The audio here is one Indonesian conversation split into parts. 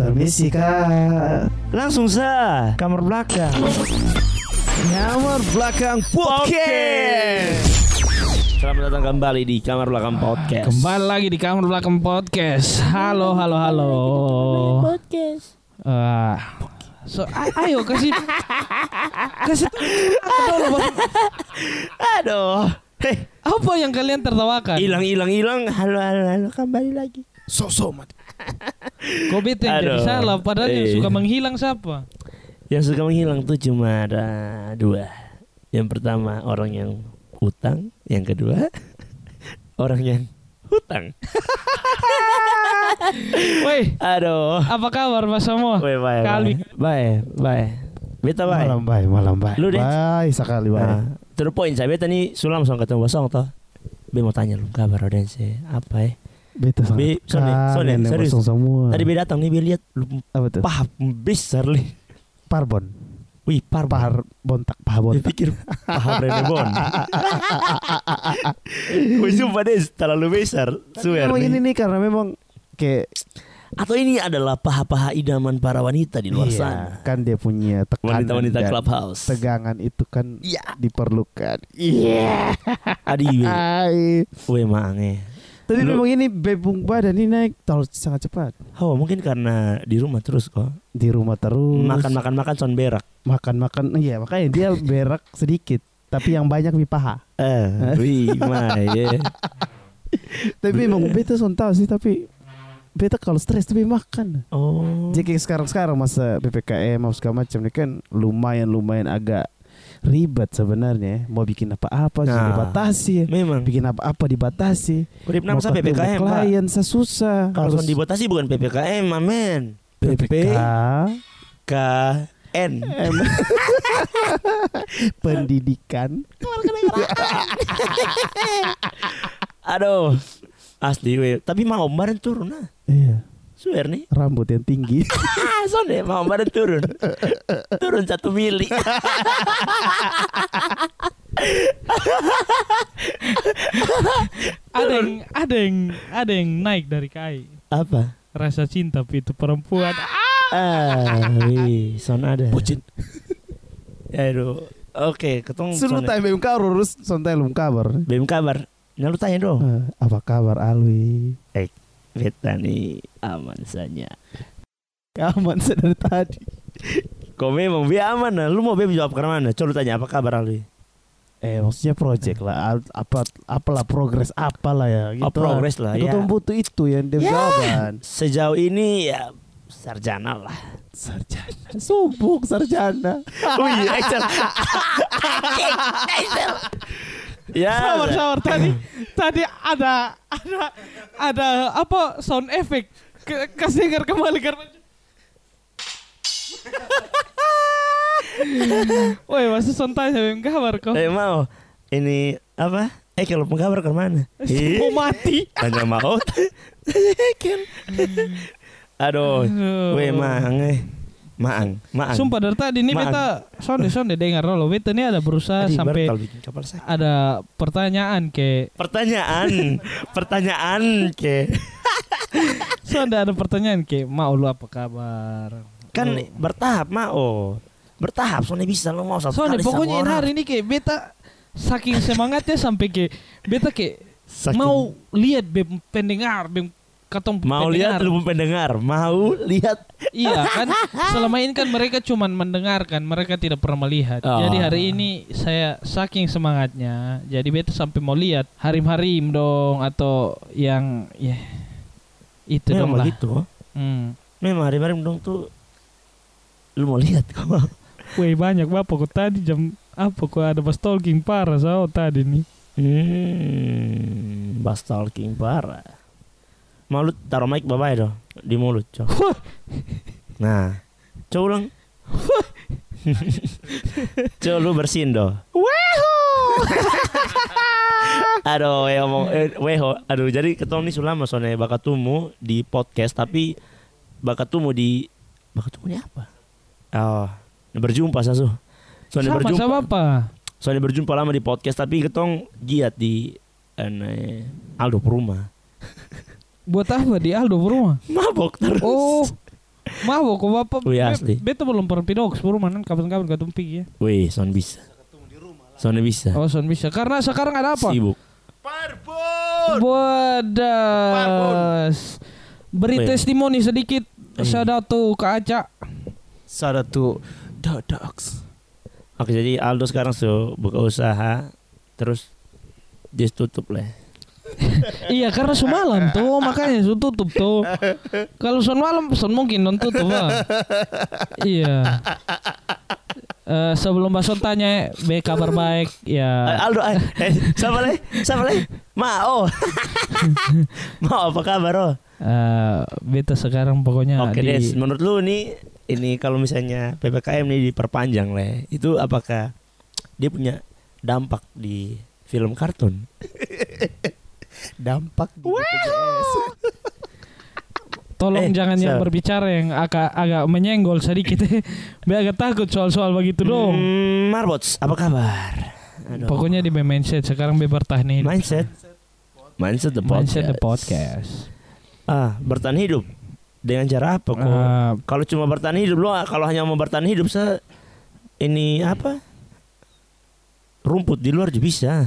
Permisi kak Langsung sa Kamar belakang Kamar belakang podcast Selamat datang kembali di Kamar Belakang Podcast Kembali lagi di kamar belakang podcast. Halo, halo, halo. Podcast. so, a- ayo kasih kasih apa, Aduh Hei, apa yang kalian tertawakan? Hilang hilang hilang Halo halo halo kembali lagi So-so mati. Kok bete yang jadi Aduh. salah padahal yang Eh. suka menghilang siapa? Yang Ya, suka menghilang tuh cuma ada dua Yang pertama orang yang utang Yang kedua Orang yang hutang Woi, Aduh apa kabar Mas Ah, Somo? Weh, bye, Kalbi. Bye bye Bye Beta bye Malam baik malam baik Lu, Dens. Baik sekali baik Nah, to the point saya beta nih sulam song ketemu bosong toh. Be mau tanya lu kabar Odense apa ya? Beta sangat Bi- Sony, Sony, kangen yang serius. kosong semua Tadi be datang nih be lihat lu Apa tuh? paha besar li. Parbon Wih par Pahar bontak Paha bontak Dipikir paha Brenebon. Wih sumpah deh terlalu besar. Swear Memang ini nih. nih karena memang Kayak Atau ini adalah paha-paha idaman para wanita di luar iya, sana. Kan dia punya tekanan Wanita-wanita dan clubhouse. Tegangan itu kan Iya. diperlukan Iya Adi. Hai. Weh eh. mange. Tadi Lu- memang ini bebung badan ini naik terlalu sangat cepat Oh mungkin karena di rumah terus kok. di rumah terus Makan makan makan son berak. makan makan iya makanya dia berak sedikit tapi yang banyak di paha Eh, wih, eh. mae. tapi emang beta son tahu sih tapi beta kalau stres tapi makan Oh. jadi kayak sekarang sekarang masa ppkm apa segala macam ini kan lumayan lumayan agak ribet sebenarnya mau bikin apa-apa jadi Nah. dibatasi Memang. bikin apa-apa dibatasi Urip mau nam sampai ketemu PPKM, Pak. klien saya susah Kalau son dibatasi bukan PPKM, amen. PPKM PPKN. pendidikan Aduh. Asli we. Tapi mau kemarin turun nah. iya Swear nih. rambut yang tinggi Ah, son deh mau kemarin turun. turun satu mili. Ada yang ada yang ada yang naik dari KAI. Apa? Rasa cinta itu perempuan. Ah, wih, son ada. Bucin. Aduh. Oke, ketemu Suruh time BMK lurus santai lu kabar. BM kabar. Nah lu tanya dong. Eh, apa kabar Alwi? Beta nih aman saja. Aman sih dari tadi. Kau memang be aman nah. Lu mau be jawab ke mana? Coba lu tanya apa kabar lu? Eh maksudnya project lah Al- apa apalah progres apalah ya gitu. Oh, progres lah, Aku ya. tuh butuh itu yang dia Ya. jawaban. Sejauh ini ya sarjana lah. Sarjana. Subuk sarjana. Oh iya, Aisel. Ya. Sabar, sabar. Tadi, tadi ada, ada, ada apa sound effect? Ke, kasih dengar kembali karena. Woi, masih sound tanya yang kabar kok. Eh mau ini apa? Eh kalau pengkabar ke mana? Ih, Oh, Mau mati. Tanya mau. Kan. Aduh, Aduh. weh mang eh. Maang, maang. Sumpah dari tadi ini Maaf. beta sonde sonde dengar lo. Beta ini ada berusaha Tadi sampai baru kalau bikin kapal saya. ada pertanyaan ke Pertanyaan, pertanyaan ke. sonde ada pertanyaan ke mau lu apa kabar? Kan Lu- bertahap mau. Bertahap soalnya bisa lo mau satu kali Soalnya sama pokoknya ini orang. hari ini kayak beta saking semangatnya sampai ke beta kayak Saking- mau lihat bem pendengar bem katong mau lihat pendengar. lu pendengar, mau lihat Iya kan selama ini kan mereka cuman mendengarkan, mereka tidak pernah melihat. Ah. Jadi hari ini saya saking semangatnya, jadi beta sampai mau lihat harim-harim dong atau yang ya itu dong memang lah. gitu. Hmm. Memang hari-hari dong tuh lu mau lihat kok. Weh banyak bapak kok tadi jam apa kok ada pas talking parah so tadi nih. Hmm, bas talking parah. Mau lu taruh mic bye dong di mulut, Cok. Wah. Nah, coba ulang. coba lu bersihin doh. Aduh, ya ngomong eh, weho. Aduh, jadi ketemu nih Sulama soalnya bakatumu di podcast tapi bakatumu di bakatumu ini apa? Oh, berjumpa Sasu. Soalnya Sama berjumpa sama apa? soalnya berjumpa lama di podcast tapi ketong giat di ane Aldo rumah Buat apa di Aldo rumah? mabok terus Oh, Mau kok bapak. Wih, be- asli. Beta belum pernah pindah Oxford manan kapan-kapan ketemu pergi ya. Wih, son bisa. Son bisa. Oh, son bisa. Karena sekarang ada apa? Sibuk. Bodas. Beri Wih. testimoni sedikit. Eh. Shout out to Kak Aca. Shout out to the dogs. Oke, jadi Aldo sekarang so buka usaha terus dia tutup lah. iya, karena semalam tuh makanya su tutup tuh. Kalau son malam son mungkin non tutup. Bang. iya. Eh, sebelum Bason tanya, be kabar baik Eh, ya. Aldo, eh, eh, siapa leh? Siapa leh? Ma, oh. Ma, apa kabar, oh? Eh, beta sekarang pokoknya Oke, Ya, di Des, menurut lu nih ini kalau misalnya PPKM nih diperpanjang leh, itu apakah dia punya dampak di film kartun? Dampak Gitu, di BPJS. Eh, Tolong jangan Sal. yang berbicara yang agak agak menyenggol sedikit. Be agak takut soal-soal begitu dong. Hmm, Marbots, apa kabar? Aduh. Pokoknya di be mindset sekarang be bertahan hidup. mindset. Mindset the podcast. Mindset the podcast. Ah, bertahan hidup. Dengan cara apa kok? Eh, Kalau cuma bertahan hidup lo kalau hanya mau bertahan hidup se ini apa? Rumput di luar juga bisa.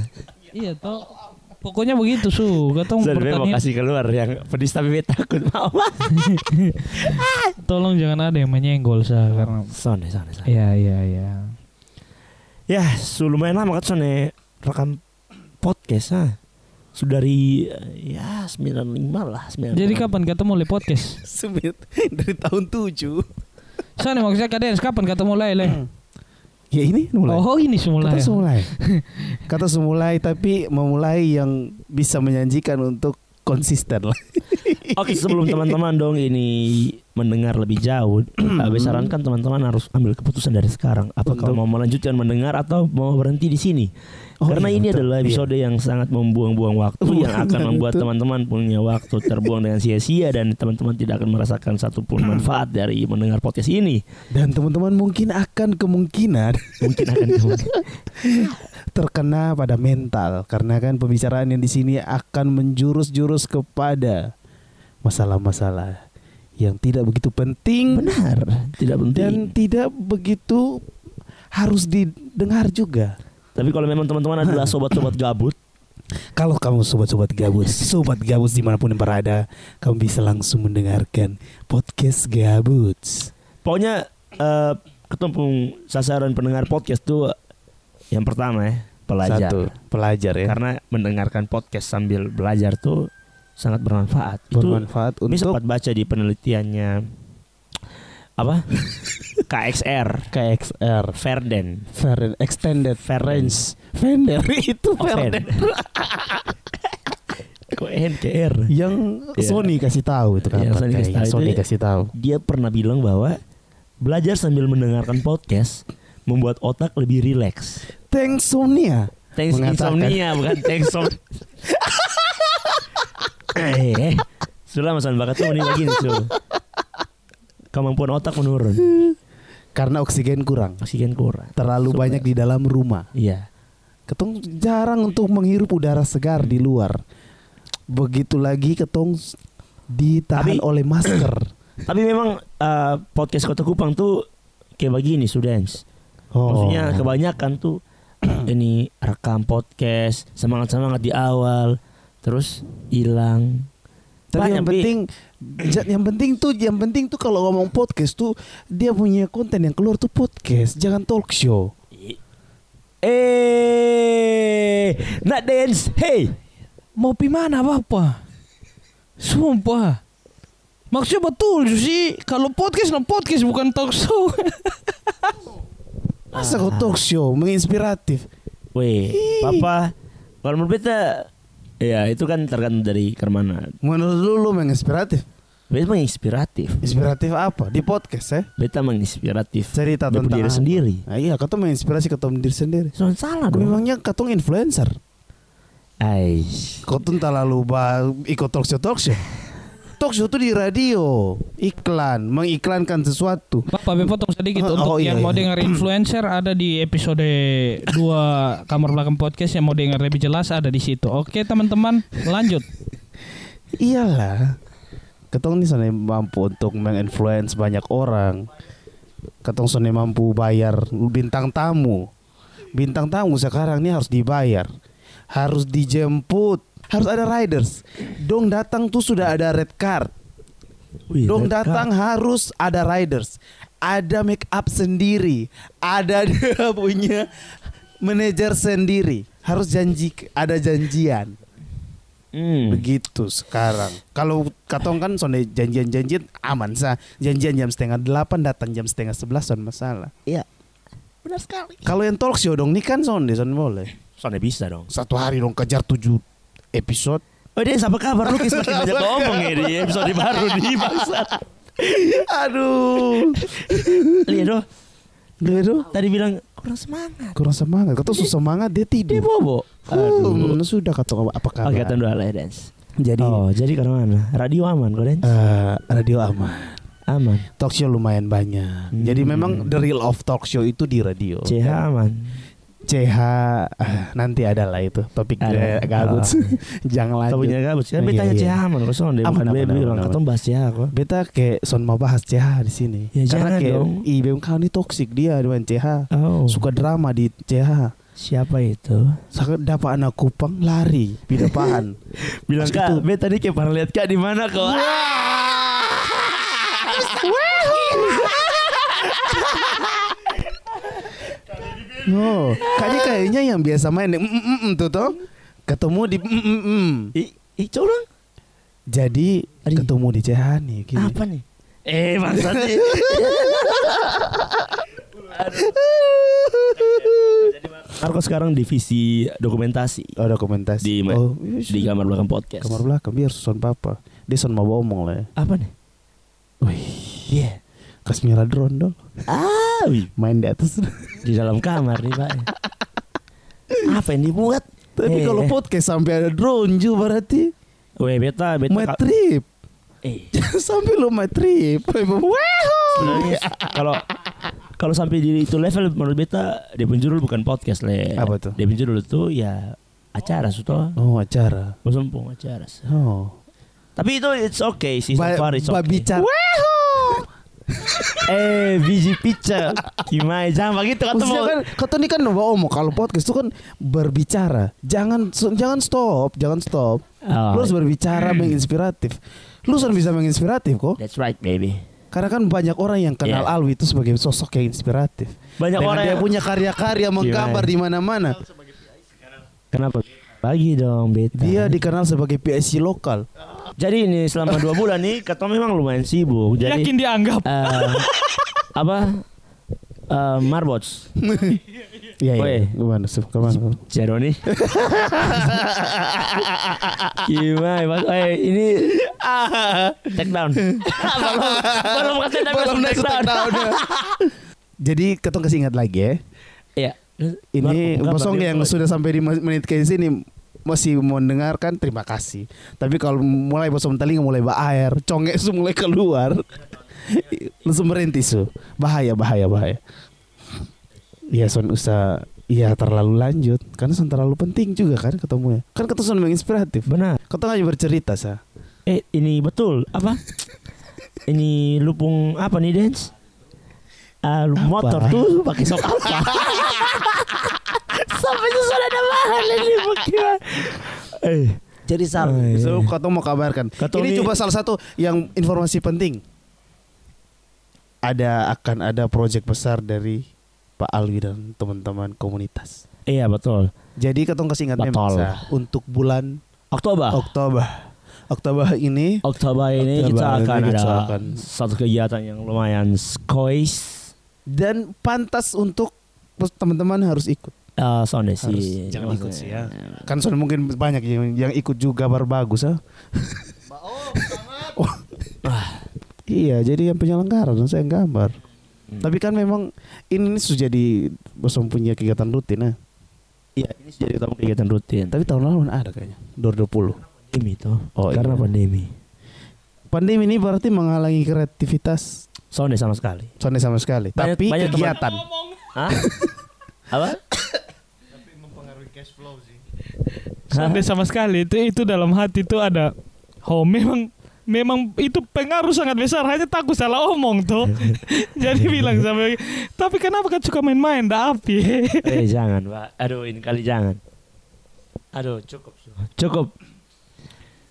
iya toh. Pokoknya begitu su. Gak tau Sebenarnya mau bertahan hidup. kasih keluar yang pedis tapi beta takut mau. Tolong jangan ada yang menyenggol Ah. sa karena. Sone, sone, sone. Iya iya iya. Ya, su lumayan lama kan sone rekam podcast ah. Sudah dari eh, ya 95 lah, 96. Jadi kapan ketemu le podcast? Eh, Sumit dari tahun 7. Sana maksudnya kadens kapan ketemu le le? Ya ini mulai. Oh ini semula. Kata ya? semulai. Kata semulai tapi memulai yang bisa menjanjikan untuk konsisten lah. Oke, sebelum teman-teman dong ini mendengar lebih jauh, Abe sarankan teman-teman harus ambil keputusan dari sekarang. Apakah Betul. mau melanjutkan mendengar atau mau berhenti di sini? Oh, Karena iya, ini betul. adalah Iya. episode yang sangat membuang-buang waktu yang akan Betul. membuat teman-teman punya waktu terbuang dengan sia-sia dan teman-teman tidak akan merasakan satupun manfaat dari mendengar podcast ini. Dan teman-teman mungkin akan kemungkinan Mungkin akan kemungkinan. terkena pada mental karena kan pembicaraan yang di sini akan menjurus-jurus kepada masalah-masalah yang tidak begitu penting benar, tidak penting. dan tidak begitu harus didengar juga. Tapi kalau memang teman-teman adalah sobat-sobat gabut, Kalau kamu sobat-sobat gabus, sobat gabus dimanapun yang berada, kamu bisa langsung mendengarkan podcast gabus. pokoknya eh, ketumpung sasaran pendengar podcast tuh yang pertama ya pelajar. Satu, pelajar ya. Karena mendengarkan podcast sambil belajar tuh sangat bermanfaat. Itu bermanfaat kami untuk sempat baca di penelitiannya apa KXR KXR Verden Feren extended Verden. range Fender itu Oh, Fender Verden. Kok NKR? yang Iya. Sony kasih tahu itu kapan Iya, Sony kasih kayaknya. tahu. Sony Itu- kasih tahu. Dia pernah bilang bahwa belajar sambil mendengarkan podcast membuat otak lebih rileks. Thanks Sony ya. Thanks Mengatakan. insomnia bukan thanks som. eh, eh. Sulah masan bakat tuh nih lagi nih Sul. Kemampuan otak menurun, Karena oksigen kurang. oksigen kurang. Terlalu Supaya- banyak di dalam rumah. Iya. Ketong jarang untuk menghirup udara segar di luar. Begitu lagi ketong s- ditahan Tapi- oleh masker. Tapi memang eh, podcast Kota Kupang tuh kayak begini students. Oh. Maksudnya kebanyakan tuh ini rekam podcast, semangat-semangat di awal, terus hilang. Tapi Banyak, yang Bi. penting ja- yang penting tuh yang penting tuh kalau ngomong podcast tuh dia punya konten yang keluar tuh podcast, jangan talk show. Eh, not dance. Hey. Mau pi mana bapak? Sumpah. Maksudnya betul sih kalau podcast nah podcast bukan talk show. Masa kau talk show menginspiratif? Weh, papa. Kalau menurut beta, ya itu kan tergantung dari kemana. Menurut lu lu menginspiratif? Beta menginspiratif. Inspiratif apa? Di podcast ya? Beta menginspiratif. Cerita Dari tentang diri apa? sendiri. Nah, iya, kau menginspirasi kau diri sendiri. Soalnya salah Kau dong. memangnya katong influencer. Ais. Kau tuh entah lalu ba- ikut talk show talk show. Talk show tuh di radio, iklan, mengiklankan sesuatu. Bapak be potong sedikit Oh, untuk oh, iya, yang mau iya. dengar influencer ada di episode 2 Kamar Belakang Podcast yang mau dengar lebih jelas ada di situ. Oke, teman-teman, lanjut. Iyalah. ketong nih sana mampu untuk menginfluence banyak orang ketong sana mampu bayar bintang tamu bintang tamu sekarang nih harus dibayar harus dijemput harus ada riders dong datang tuh sudah ada red card Wih, dong mereka- datang harus ada riders ada make up sendiri ada dia punya manajer sendiri harus janji ada janjian Hmm. begitu sekarang kalau katong kan sonde janjian janjian aman sah janjian jam setengah delapan datang jam setengah sebelas son masalah Iya. Benar sekali. kalau yang talk show dong nih kan sonde son boleh Soalnya bisa dong. satu hari dong kejar tujuh episode Oh dia apa kabar lu semakin banyak ngomong ya di episode baru di bangsa. aduh Lihat dong, Gledo tadi bilang kurang semangat. kurang semangat kata susah semangat dia Dia tidur bobo. Hmm, sudah kata apa kabar Oke, tahun dua lah dance. jadi oh, jadi karena mana? Radio aman kok dance? eh, radio aman aman. talk show lumayan banyak Hmm. jadi memang the real of talk show itu di radio CH aman. CH ah, nanti ada lah itu topik Ada. eh, gabut Oh. Kamu jangan lanjut punya gabut? Kan Iya, betanya iya. CH aman kok soalnya Aman, bukan aman, BB aman, bilang aman. ketemu bahas CH kok. beta kayak son mau bahas CH di sini Ya, jangan karena kayak dong. IBM kau ini toksik dia dengan CH Oh, suka drama di CH siapa itu? Sakit dapat anak kupang lari pindah pahan Bilang kak, Kak, bet tadi kayak pernah lihat kak di mana kok? Iya. Oh. no Oh, kayaknya kayaknya yang biasa main yang mm, mm, mm, tuh toh ketemu di mm, mm, mm. Ih, ih, curang. jadi Ari. ketemu di CH nih gini. Apa nih? Eh, maksudnya. Marco sekarang divisi dokumentasi oh dokumentasi Di- oh, di iya, kamar belakang podcast. kamar belakang biar son papa dia son mau omong lah ya. Apa nih? Wih, Iya. Kasmira drone dong Ah, wih. main di atas di dalam kamar nih pak. Apa yang dibuat? tapi Eh, kalau eh. podcast sampai ada drone juga berarti Weh beta, beta. my kal- trip eh, sampai lu my trip sebenarnya kalau kalau sampai di itu level menurut beta dia penjuru bukan podcast le. Apa tuh? Dia penjuru itu ya acara suto. oh acara Bosompong acara. oh Tapi itu it's okay sih. so Ba- far it's okay. babicar. Eh, biji pica. Gimana? Jangan begitu kata Maksudnya mau. kan kata ini kan bawa omong kalau podcast itu kan berbicara. Jangan jangan stop, jangan stop. Oh, Lu harus berbicara menginspiratif. Lu harus bisa menginspiratif kok. That's right, baby. Karena kan banyak orang yang kenal Yeah. Alwi itu sebagai sosok yang inspiratif. Iya. Banyak Dengan orang dia yang- iya. punya karya-karya menggambar di mana-mana. Kenapa? Bagi dong, beta. Dia dikenal sebagai PSC lokal. Jadi ini selama dua bulan nih, kata memang lumayan sibuk. Jadi Yakin dianggap. eh, apa? Eh, Marbots, Iya, Woi. iya. Gimana sih? Kemana? Jeroni. Gimana? Mas? Eh, ini take down. belum belum kasih down, Belum naik langsung ke down. takedown. Jadi ketong kasih ingat lagi ya. Iya. Ini Enggak, Bosong Bang, yang enggak. sudah sampai di mas- menit ke sini masih mau mendengarkan terima kasih. Tapi kalau mulai Bosong telinga mulai baair, congek su mulai keluar. Langsung berhenti su. Bahaya bahaya bahaya. Iya son usah Iya terlalu lanjut Karena son terlalu penting juga kan ketemu ya Kan ketemu son menginspiratif Benar. Ketemu aja bercerita sa Eh, ini betul. Apa? ini lupung apa nih, Dance? Ah, motor tuh pakai sok apa? Sampai susun ada mahal ini bagaimana? Eh, Jadi sal Oh, iya. So ketemu mau kabarkan Ketemu Ini ini- coba salah satu yang informasi penting Ada akan ada proyek besar dari Pak Alwi dan teman-teman komunitas iya betul. Jadi ketemu kasih ingat memang Betul. Sa, Untuk bulan Ah. Oktober. Oktober Oktober ini Oktober ini Oktober kita ini akan kita ada akan- satu kegiatan yang lumayan skois. Dan pantas untuk teman-teman harus ikut eh soalnya sih Harus, jangan ikut maksudnya. sih, ya. Kan soalnya mungkin banyak yang, yang ikut juga kabar bagus ah. Wah. Iya, jadi yang penyelenggaraan saya yang gambar. Hmm. Tapi kan memang ini sudah jadi bosom punya kegiatan rutin ya. Iya, ini sudah jadi tamu kegiatan rutin. Tapi Tapi tahun lalu mana ada kayaknya. 2020. pandemi tuh. Oh, karena iya. pandemi. Pandemi ini berarti menghalangi kreativitas Soalnya sama sekali. Sony sama sekali. Banyak- Tapi banyak teman- kegiatan. Hah? apa? Soalnya sama sekali itu itu dalam hati itu ada home Oh, memang memang itu pengaruh sangat besar hanya takut salah omong tuh jadi bilang sampai tapi kenapa kan suka main-main dah api eh jangan pak aduh ini kali jangan aduh cukup cukup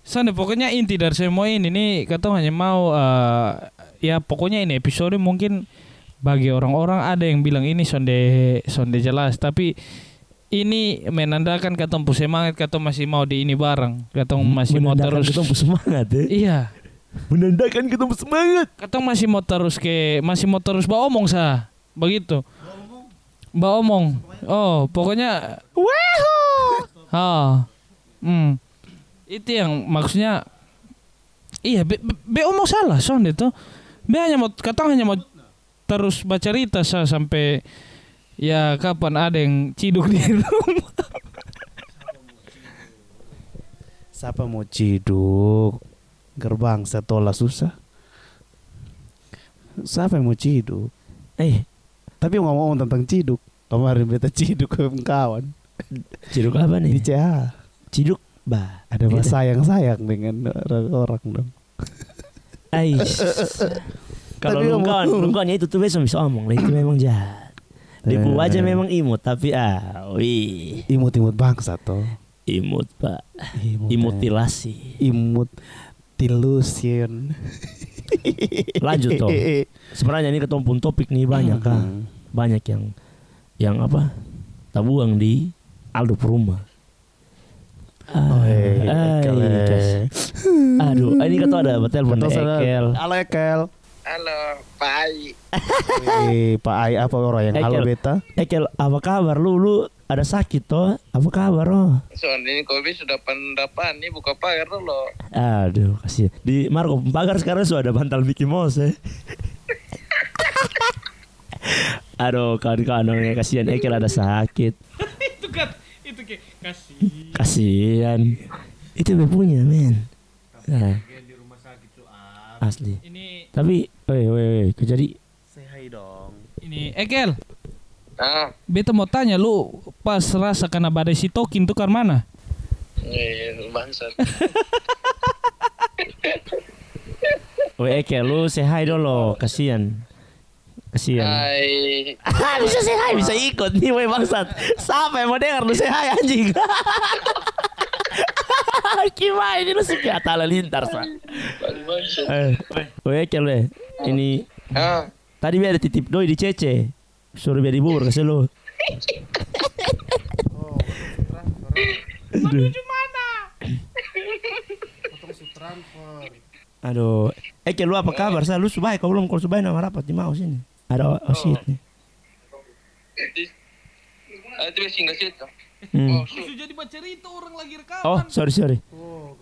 Sana pokoknya inti dari semua ini nih kata hanya mau eh, ya pokoknya ini episode mungkin bagi orang-orang ada yang bilang ini sonde sonde jelas tapi ini menandakan kata pu semangat kata masih mau di ini bareng kata masih mau Hmm, Menandakan terus kita bersemangat ya iya menandakan kita bersemangat kata masih mau terus ke masih mau terus bawa omong sah begitu bawa omong oh pokoknya oh hmm. itu yang maksudnya iya be, be- be omong salah son itu be hanya mau kata hanya mau terus baca cerita sah sampai ya kapan ada yang ciduk di rumah Siapa mau ciduk? Gerbang setola susah. Siapa yang mau ciduk? eh Tapi ngomong tentang ciduk. Kemarin beta ciduk ke kawan ciduk apa di nih CA. ciduk bah Ada Gitu. bahasa sayang sayang dengan orang-orang dong. Ais. Kalau kan, Tapi lungkon, ngomong- lungkonnya itu tuh bisa bisa omong, lah itu memang jahat. Dipu aja Eh. memang imut, tapi ah, wih, Nah, Imut-imut bangsa toh. imut ya. pak, Imut. ya. imutilasi. Imut tilusion. Lanjut toh. Sebenarnya ini ketumpun topik nih banyak kan, banyak yang yang apa? Tabuang di Aldo Peruma. Ah, Oh, eh, ais. Ekel. iya. Aduh, ini kata ada telepon dari Betul, saudara. Ekel. Halo Ekel. Halo, Pak Ai. Eh, Pak Ai apa orang yang halo Ekel. beta? Ekel, apa kabar lu? Lu ada sakit toh? Apa kabar oh? Soal ini COVID sudah pendapan nih buka pagar dulu. Aduh, kasih. Di Marco Pagar sekarang sudah ada bantal Mickey Mouse ya. Aduh, kawan-kawan dong, ya, kasihan Ekel ada sakit. itu kan itu kayak kasih Kasihan. Itu gue punya, men. Nah. ah. Asli. ini Tapi, woi woi woi, kau jadi ini Ekel Ah, beta mau tanya lu pas rasa kena badai si tokin tukar mana ini iya, bangsat. woi Ekel eh, lu say hi dulu, kasihan. Kasihan. Hai. Ah, bisa say hi, bisa ikut nih woi bangsat. Siapa yang mau denger lu say hi anjing? Gimana ini lu suka atala lintar, sa. Bang bangsat. Eh, Oke, Kel, ini Ah, tadi biar ada titip doi di Cece. Suruh biar dibubur kasih lu. Aduh. Eh, Kel, lu apa kabar? Sa? Lu subay kau belum? Kalau subay nama rapat di mau sini. Ada osit nih. di Ah, eh, itu biasa nggak sih itu? Hmm. Oh, su- jadi baca cerita orang lagi Oh, rekam Oh, sorry sorry.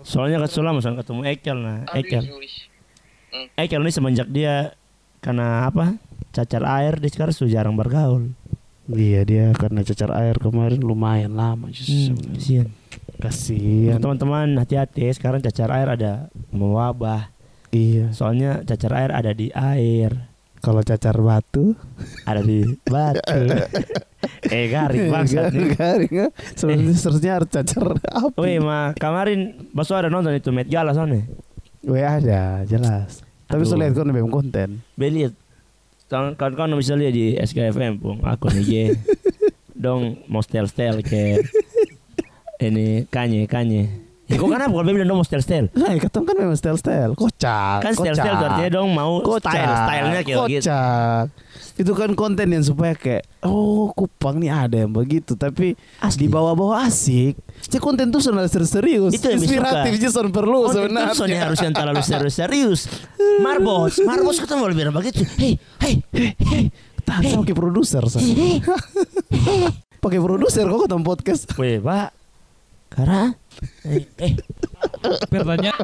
Soalnya ketemu lama, soalnya ketemu Ekel nah. Ekel. iya. aduh, su- Ekel ini semenjak dia karena apa? Cacar air dia sekarang sudah jarang bergaul. Iya dia karena cecer air kemarin lumayan lama. Hmm, Kasian. kasihan. Kasihan. Untuk teman-teman hati-hati ya. sekarang cacar air ada mewabah. Iya. Soalnya cacar air ada di air, Kalau cacar batu, ada di batu. eh garing banget nih. Eh. garing. ya. Sebenarnya seharusnya harus cacar Weh api. ma kemarin Baso ada nonton itu Met Gala soalnya. Weh ada, jelas. Tapi Aduh. sulit kan memang konten. Beliat. Kawan-kawan bisa lihat di SKFM pun aku nih ye. Dong mau stel stel ke ini kanye kanye. Ya, kok kenapa kalau bilang dong mau stel stel? Nah, ketemu kan memang style style, kocak. Kan stel stel kocak. artinya dong mau kocak, style stylenya kayak gitu. kocak. Itu kan konten yang supaya kayak oh kupang nih ada yang begitu tapi Asli. di bawah-bawah asik. Cek konten tuh sebenarnya serius. Itu yang Inspiratif disuka. Jason perlu sebenarnya. Oh, Thompson yang harusnya terlalu serius-serius. Marbos, Marbos ketemu lebih orang begitu. Hei, hei, hei. Tahan saya pakai produser Sa. Pakai produser kok ketemu podcast. Weh, Pak. Kara. Eh, eh. Pertanyaan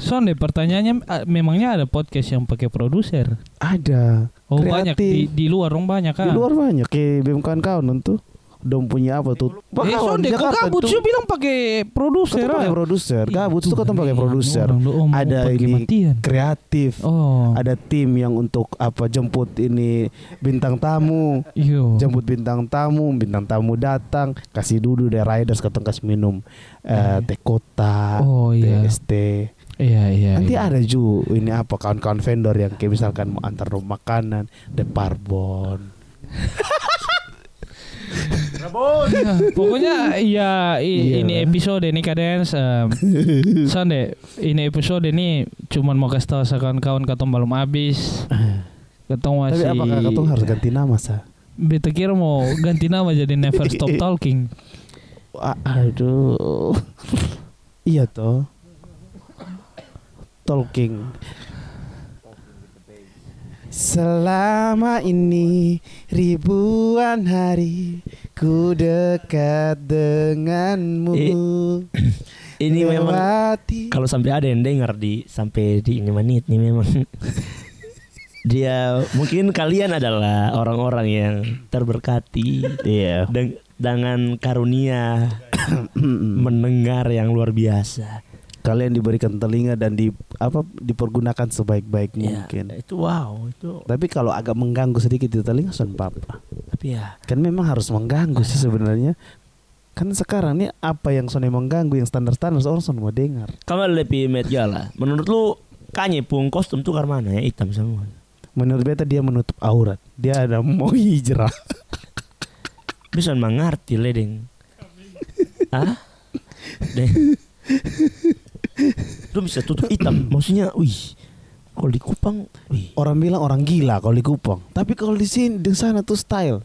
Son deh pertanyaannya ah, memangnya ada podcast yang pakai produser? Ada. Oh Kreatif. banyak di, di luar dong banyak kan? Di luar banyak kayak BM kawan-kawan tuh. Dom punya apa tuh? Eh Son deh kok Jakarta kabut tuh. sih bilang pakai produser Ketemu pakai ah. produser, Iya, gabut tuh Tuhan, ketemu pakai iya, produser. orang lu omong Ada pakai ini matian. kreatif. Oh. Ada tim yang untuk apa jemput ini bintang tamu. Iyo. Jemput bintang tamu, bintang tamu datang, kasih duduk deh riders ketemu kasih minum eh, teh Eh. kota, Oh, teh iya. es teh. Iya iya. Nanti iya. ada ju ini apa kawan-kawan vendor yang kayak misalkan mau antar rumah makanan, de parbon. Nah, Pokoknya iya i- Iya. ini episode ini kadens em, Sande ini episode ini cuman mau kasih tahu sa kawan-kawan katong belum habis. Ketong Eh. Tapi masih apakah kau tuh harus ganti nama sa? Beta kira mau ganti nama jadi Never Stop Talking. Wah, aduh. iya toh. Talking. Selama ini ribuan hari ku dekat denganmu. Ini memang Lewati kalau sampai ada yang dengar di sampai di ini menit nih memang dia mungkin kalian adalah orang-orang yang terberkati Iya. deng- dengan karunia mendengar yang luar biasa. Kalian diberikan telinga dan di apa dipergunakan sebaik-baik Iya. Ya, mungkin. itu wow, itu Tapi kalau agak mengganggu sedikit di telinga son papa. tapi ya Kan memang harus mengganggu sih sebenarnya. Kan sekarang nih apa yang Sony mengganggu yang standar-standar orang Sony mau dengar. kamu lebih medjala. Menurut lu Kanye pun kostum tuh mana ya hitam semua. Menurut beta dia menutup aurat. Dia ada mau hijrah. Bisa mengerti ledeng. Hah? Deng. Lu bisa tutup hitam. Maksudnya, wih. Kalau di Kupang, wih. Orang bilang orang gila kalau di Kupang. Tapi kalau di sini di sana tuh style.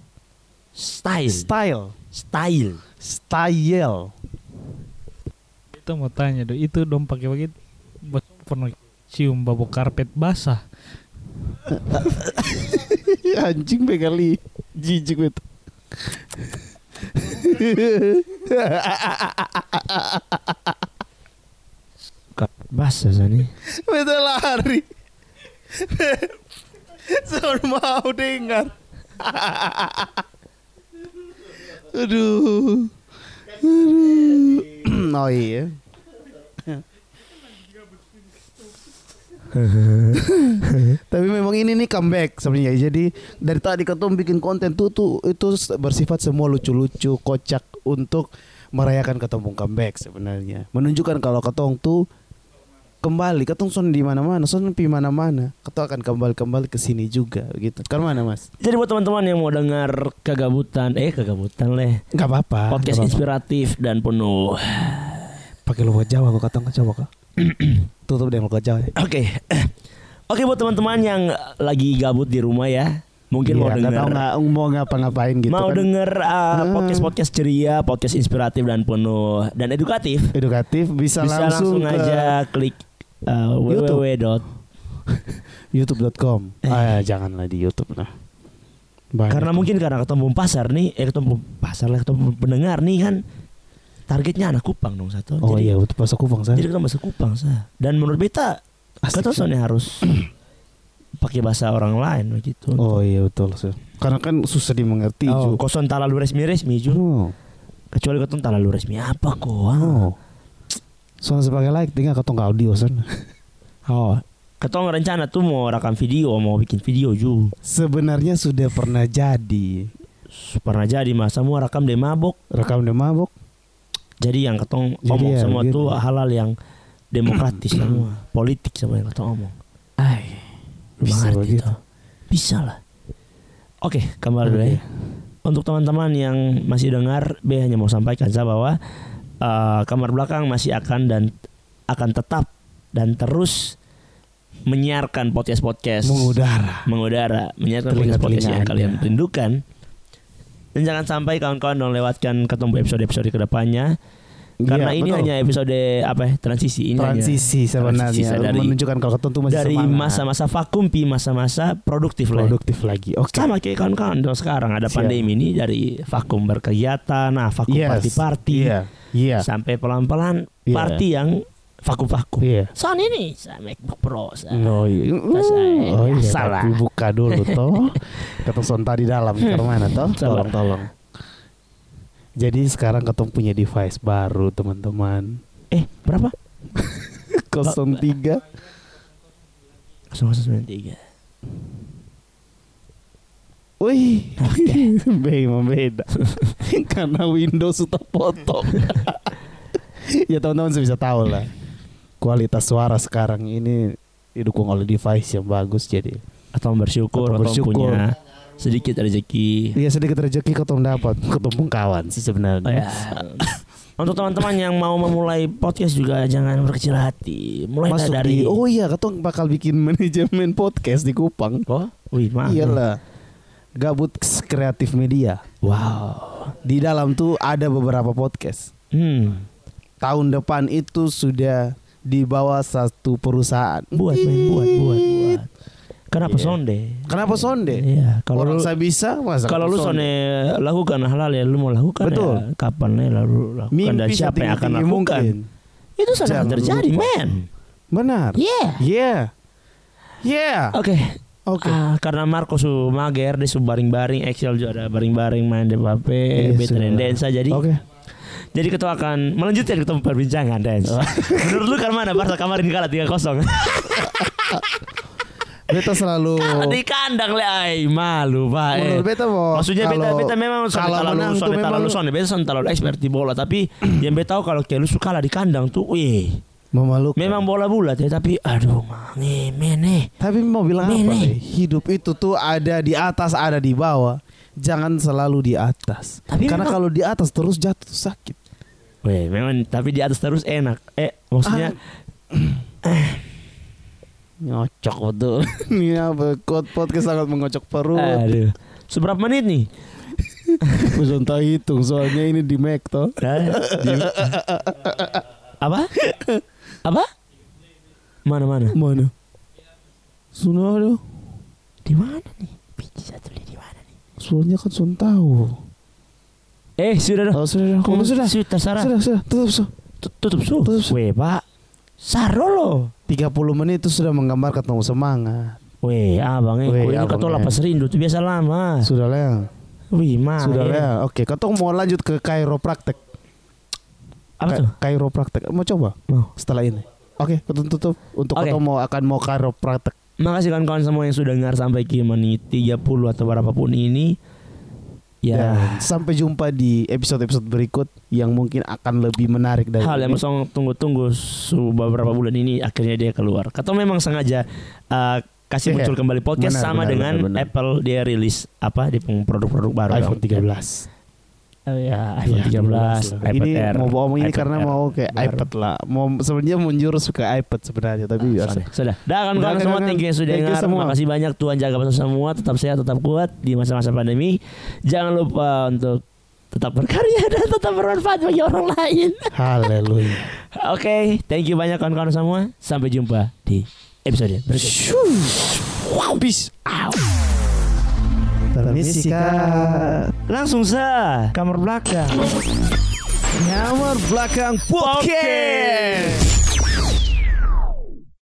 Style. Style. Style. Iya. Style. Itu mau tanya do, itu dong pakai begitu buat pernah cium bau karpet basah. Anjing begali. Jijik beta. Bahasa sana. Beta lari. Sony mau dengar. Aduh. Aduh. Oh iya. Tapi memang ini nih comeback sebenarnya. Jadi dari tadi ketum bikin konten tuh tuh itu s- bersifat semua lucu-lucu, kocak untuk merayakan ketum comeback sebenarnya. Menunjukkan kalau ketong tuh kembali, ketong son di mana-mana, son pi mana-mana. Ketong akan kembali-kembali ke sini juga gitu. Kan mana, Mas? Jadi buat teman-teman yang mau dengar kegabutan, eh kegabutan leh. Enggak apa-apa. Podcast nggak Ah, apa-apa. inspiratif dan penuh. pakai logat Jawa kok ketong Jawa kok. Tutup dengan logat Jawa. ya. Oke. Oke buat teman-teman yang lagi gabut di rumah ya. Mungkin Iya, mau nggak tahu dengar nggak mau ngapa-ngapain gitu mau kan. denger uh, Hmm. podcast-podcast ceria, podcast inspiratif dan penuh dan edukatif, Edukatif bisa, bisa langsung, ke aja klik uh, YouTube. www. youtube.com ah ya, janganlah di youtube lah Banyak. Eh. Karena mungkin karena ketemu pasar nih, eh ketemu pasar lah ketemu pendengar nih kan targetnya anak Kupang dong satu. oh jadi, iya betul bahasa kupang saya Jadi kita bahasa Kupang sah. Dan menurut beta Asik, kata sah. soalnya harus pakai bahasa orang lain begitu. oh iya betul sah. karena kan susah dimengerti Oh, juga. koson talalu resmi-resmi ju. oh. Kecuali kau tuh talalu resmi apa kok? oh. soalnya sebagai like tinggal ketong nggak audio sana Oh. Ketong rencana tuh mau rekam video, mau bikin video ju. sebenarnya sudah pernah jadi Pernah jadi mas, semua rekam dari mabok. rekam dia mabok Jadi yang ketong Jadi omong ya, semua begitu. tuh halal yang demokratis semua, politik semua yang ketong omong. Ay, Lu bisa mengerti begitu toh? Bisa lah. Oke, kembali dulu Oke. ya. Untuk teman-teman yang masih dengar, B hanya mau sampaikan saya bahwa eh, kamar belakang masih akan dan akan tetap dan terus menyiarkan podcast-podcast mengudara mengudara menyiarkan podcast-podcast yang kalian rindukan Telinga-telinganya. dan jangan sampai kawan-kawan melewatkan ketemu episode-episode kedepannya karena Iya, ini betul. hanya episode apa ya transisi ini hanya transisi sebenarnya transisi dari- menunjukkan kalau ketong tuh masih dari semangat. masa-masa vakum pi masa-masa produktif lah ya. produktif lagi oke sama kayak kawan-kawan dong sekarang ada Siap. pandemi ini dari vakum berkegiatan nah vakum Yes. party-party iya iya sampai pelan-pelan Iya. party yang vakum-vakum iya soal ini saya MacBook Pro saya. Oh iya, Selesai. oh, iya. Salah. tapi buka dulu toh. Ketong sonta di dalam ke mana toh? Salah. Tolong tolong. Jadi sekarang ketong punya device baru teman-teman. eh berapa 03 0093 Wih, memang beda. Karena Windows sudah potong. ya teman-teman sudah bisa tahu lah. kualitas suara sekarang ini didukung oleh device yang bagus jadi atau bersyukur atau, Atau bersyukur. punya sedikit rezeki Iya sedikit rezeki kau dapat ketemu kawan sih sebenarnya. Oh, ya. Untuk teman-teman yang mau memulai podcast juga jangan berkecil hati. Mulai Masuk dari di Oh iya kau bakal bikin manajemen podcast di Kupang. Oh, wih, maaf. Iyalah. Gabut Kreatif Media. Wow. Di dalam tuh ada beberapa podcast. Hmm. Tahun depan itu sudah di bawah satu perusahaan. Buat main buat buat buat. Kenapa sonde? Kenapa sonde? Iya, kalau Iya. lu Orang saya bisa masa kalau lu sonde? sonde lakukan halal ya lu mau lakukan ya Betul. kapan ya lalu lakukan dan Mimpi siapa yang akan setinggi-tinggi lakukan? mungkin. Itu sudah Jangan terjadi, lupa. men. Benar. Yeah. Yeah. Yeah. Oke. Oke. Ah, karena Marco su mager dia su baring-baring Excel juga ada baring-baring main di HP, Iya, Betren sudah. Densa jadi Oke. Jadi ketua akan melanjutkan ketua perbincangan Dance. Menurut lu kan mana Barca kemarin kalah 3-0? Beta selalu Kalah di kandang le ai malu Pak. eh. Menurut beta mau Maksudnya beta kalau- beta memang kalau kalau menang terlalu tuh sonde terlalu memang- sonde beta sonde terlalu expert di bola tapi yang beta tahu kalau kayak lu suka kalah di kandang tuh wih memalukan. memang bola bulat ya tapi aduh eh. mangi mene. Tapi mau bilang apa? Mene. Be? Hidup itu tuh ada di atas, ada di bawah. Jangan selalu di atas. Tapi Karena memang- kalau di atas terus jatuh tuh sakit. Wih memang tapi di atas terus enak. Eh maksudnya Ah. eh. Nyocok betul. Ini apa? Quote podcast sangat mengocok perut. aduh. Seberapa menit nih? Bisa entah hitung soalnya ini di Mac toh. Nah, di- apa? Apa? Mana mana? Mana? Sudah aduh. Di mana nih? Biji satu di mana nih? Soalnya kan sun tahu. Eh sudah dah. Oh, sudah, sudah. Oh, sudah. Sudah Sarah. Sudah, sudah. Tutup, sudah. Tut- Tutup su. Tutup su. Weh pak. Saro lo. 30 menit itu sudah menggambarkan ketemu semangat. Weh abang eh. Weh, Kau ini abang, katol eh. lapas rindu tuh biasa lama. Sudah lah. Wih mah. Sudah eh. lah. Oke, kau mau lanjut ke kairopraktek. Apa Ka- tuh? Kairopraktek. Mau coba? Mau. setelah ini. Oke, tutup tutup untuk Oke. ketemu akan mau praktek. Makasih kawan-kawan semua yang sudah dengar sampai ke menit 30 atau berapapun ini. Ya. Dan sampai jumpa di episode-episode berikut yang mungkin akan lebih menarik dari hal yang ini. song tunggu-tunggu su- beberapa bulan ini akhirnya dia keluar. Atau memang sengaja uh, kasih Iya. muncul kembali podcast Benar, sama benar, dengan benar, benar. Apple dia rilis apa di peng- produk-produk baru iPhone 13. Oh, ya, iPhone Ya, 13, iPad Ini Air, mau bohong ini iPad karena Air. mau kayak baru. iPad lah. Mau sebenarnya menjurus ke iPad sebenarnya tapi Ah, biasa. sorry. Sudah. Dah kan kawan Dah, semua kawan. thank you yang sudah Thank you dengar. semua. Makasih banyak Tuhan jaga kita semua, tetap sehat, tetap kuat di masa-masa pandemi. Jangan lupa untuk tetap berkarya dan tetap bermanfaat bagi orang lain. Haleluya. Oke, thank you banyak kawan-kawan semua. Sampai jumpa di episode berikutnya. Peace. Permisi, Kak. Langsung sa kamar belakang. Kamar belakang Podcast.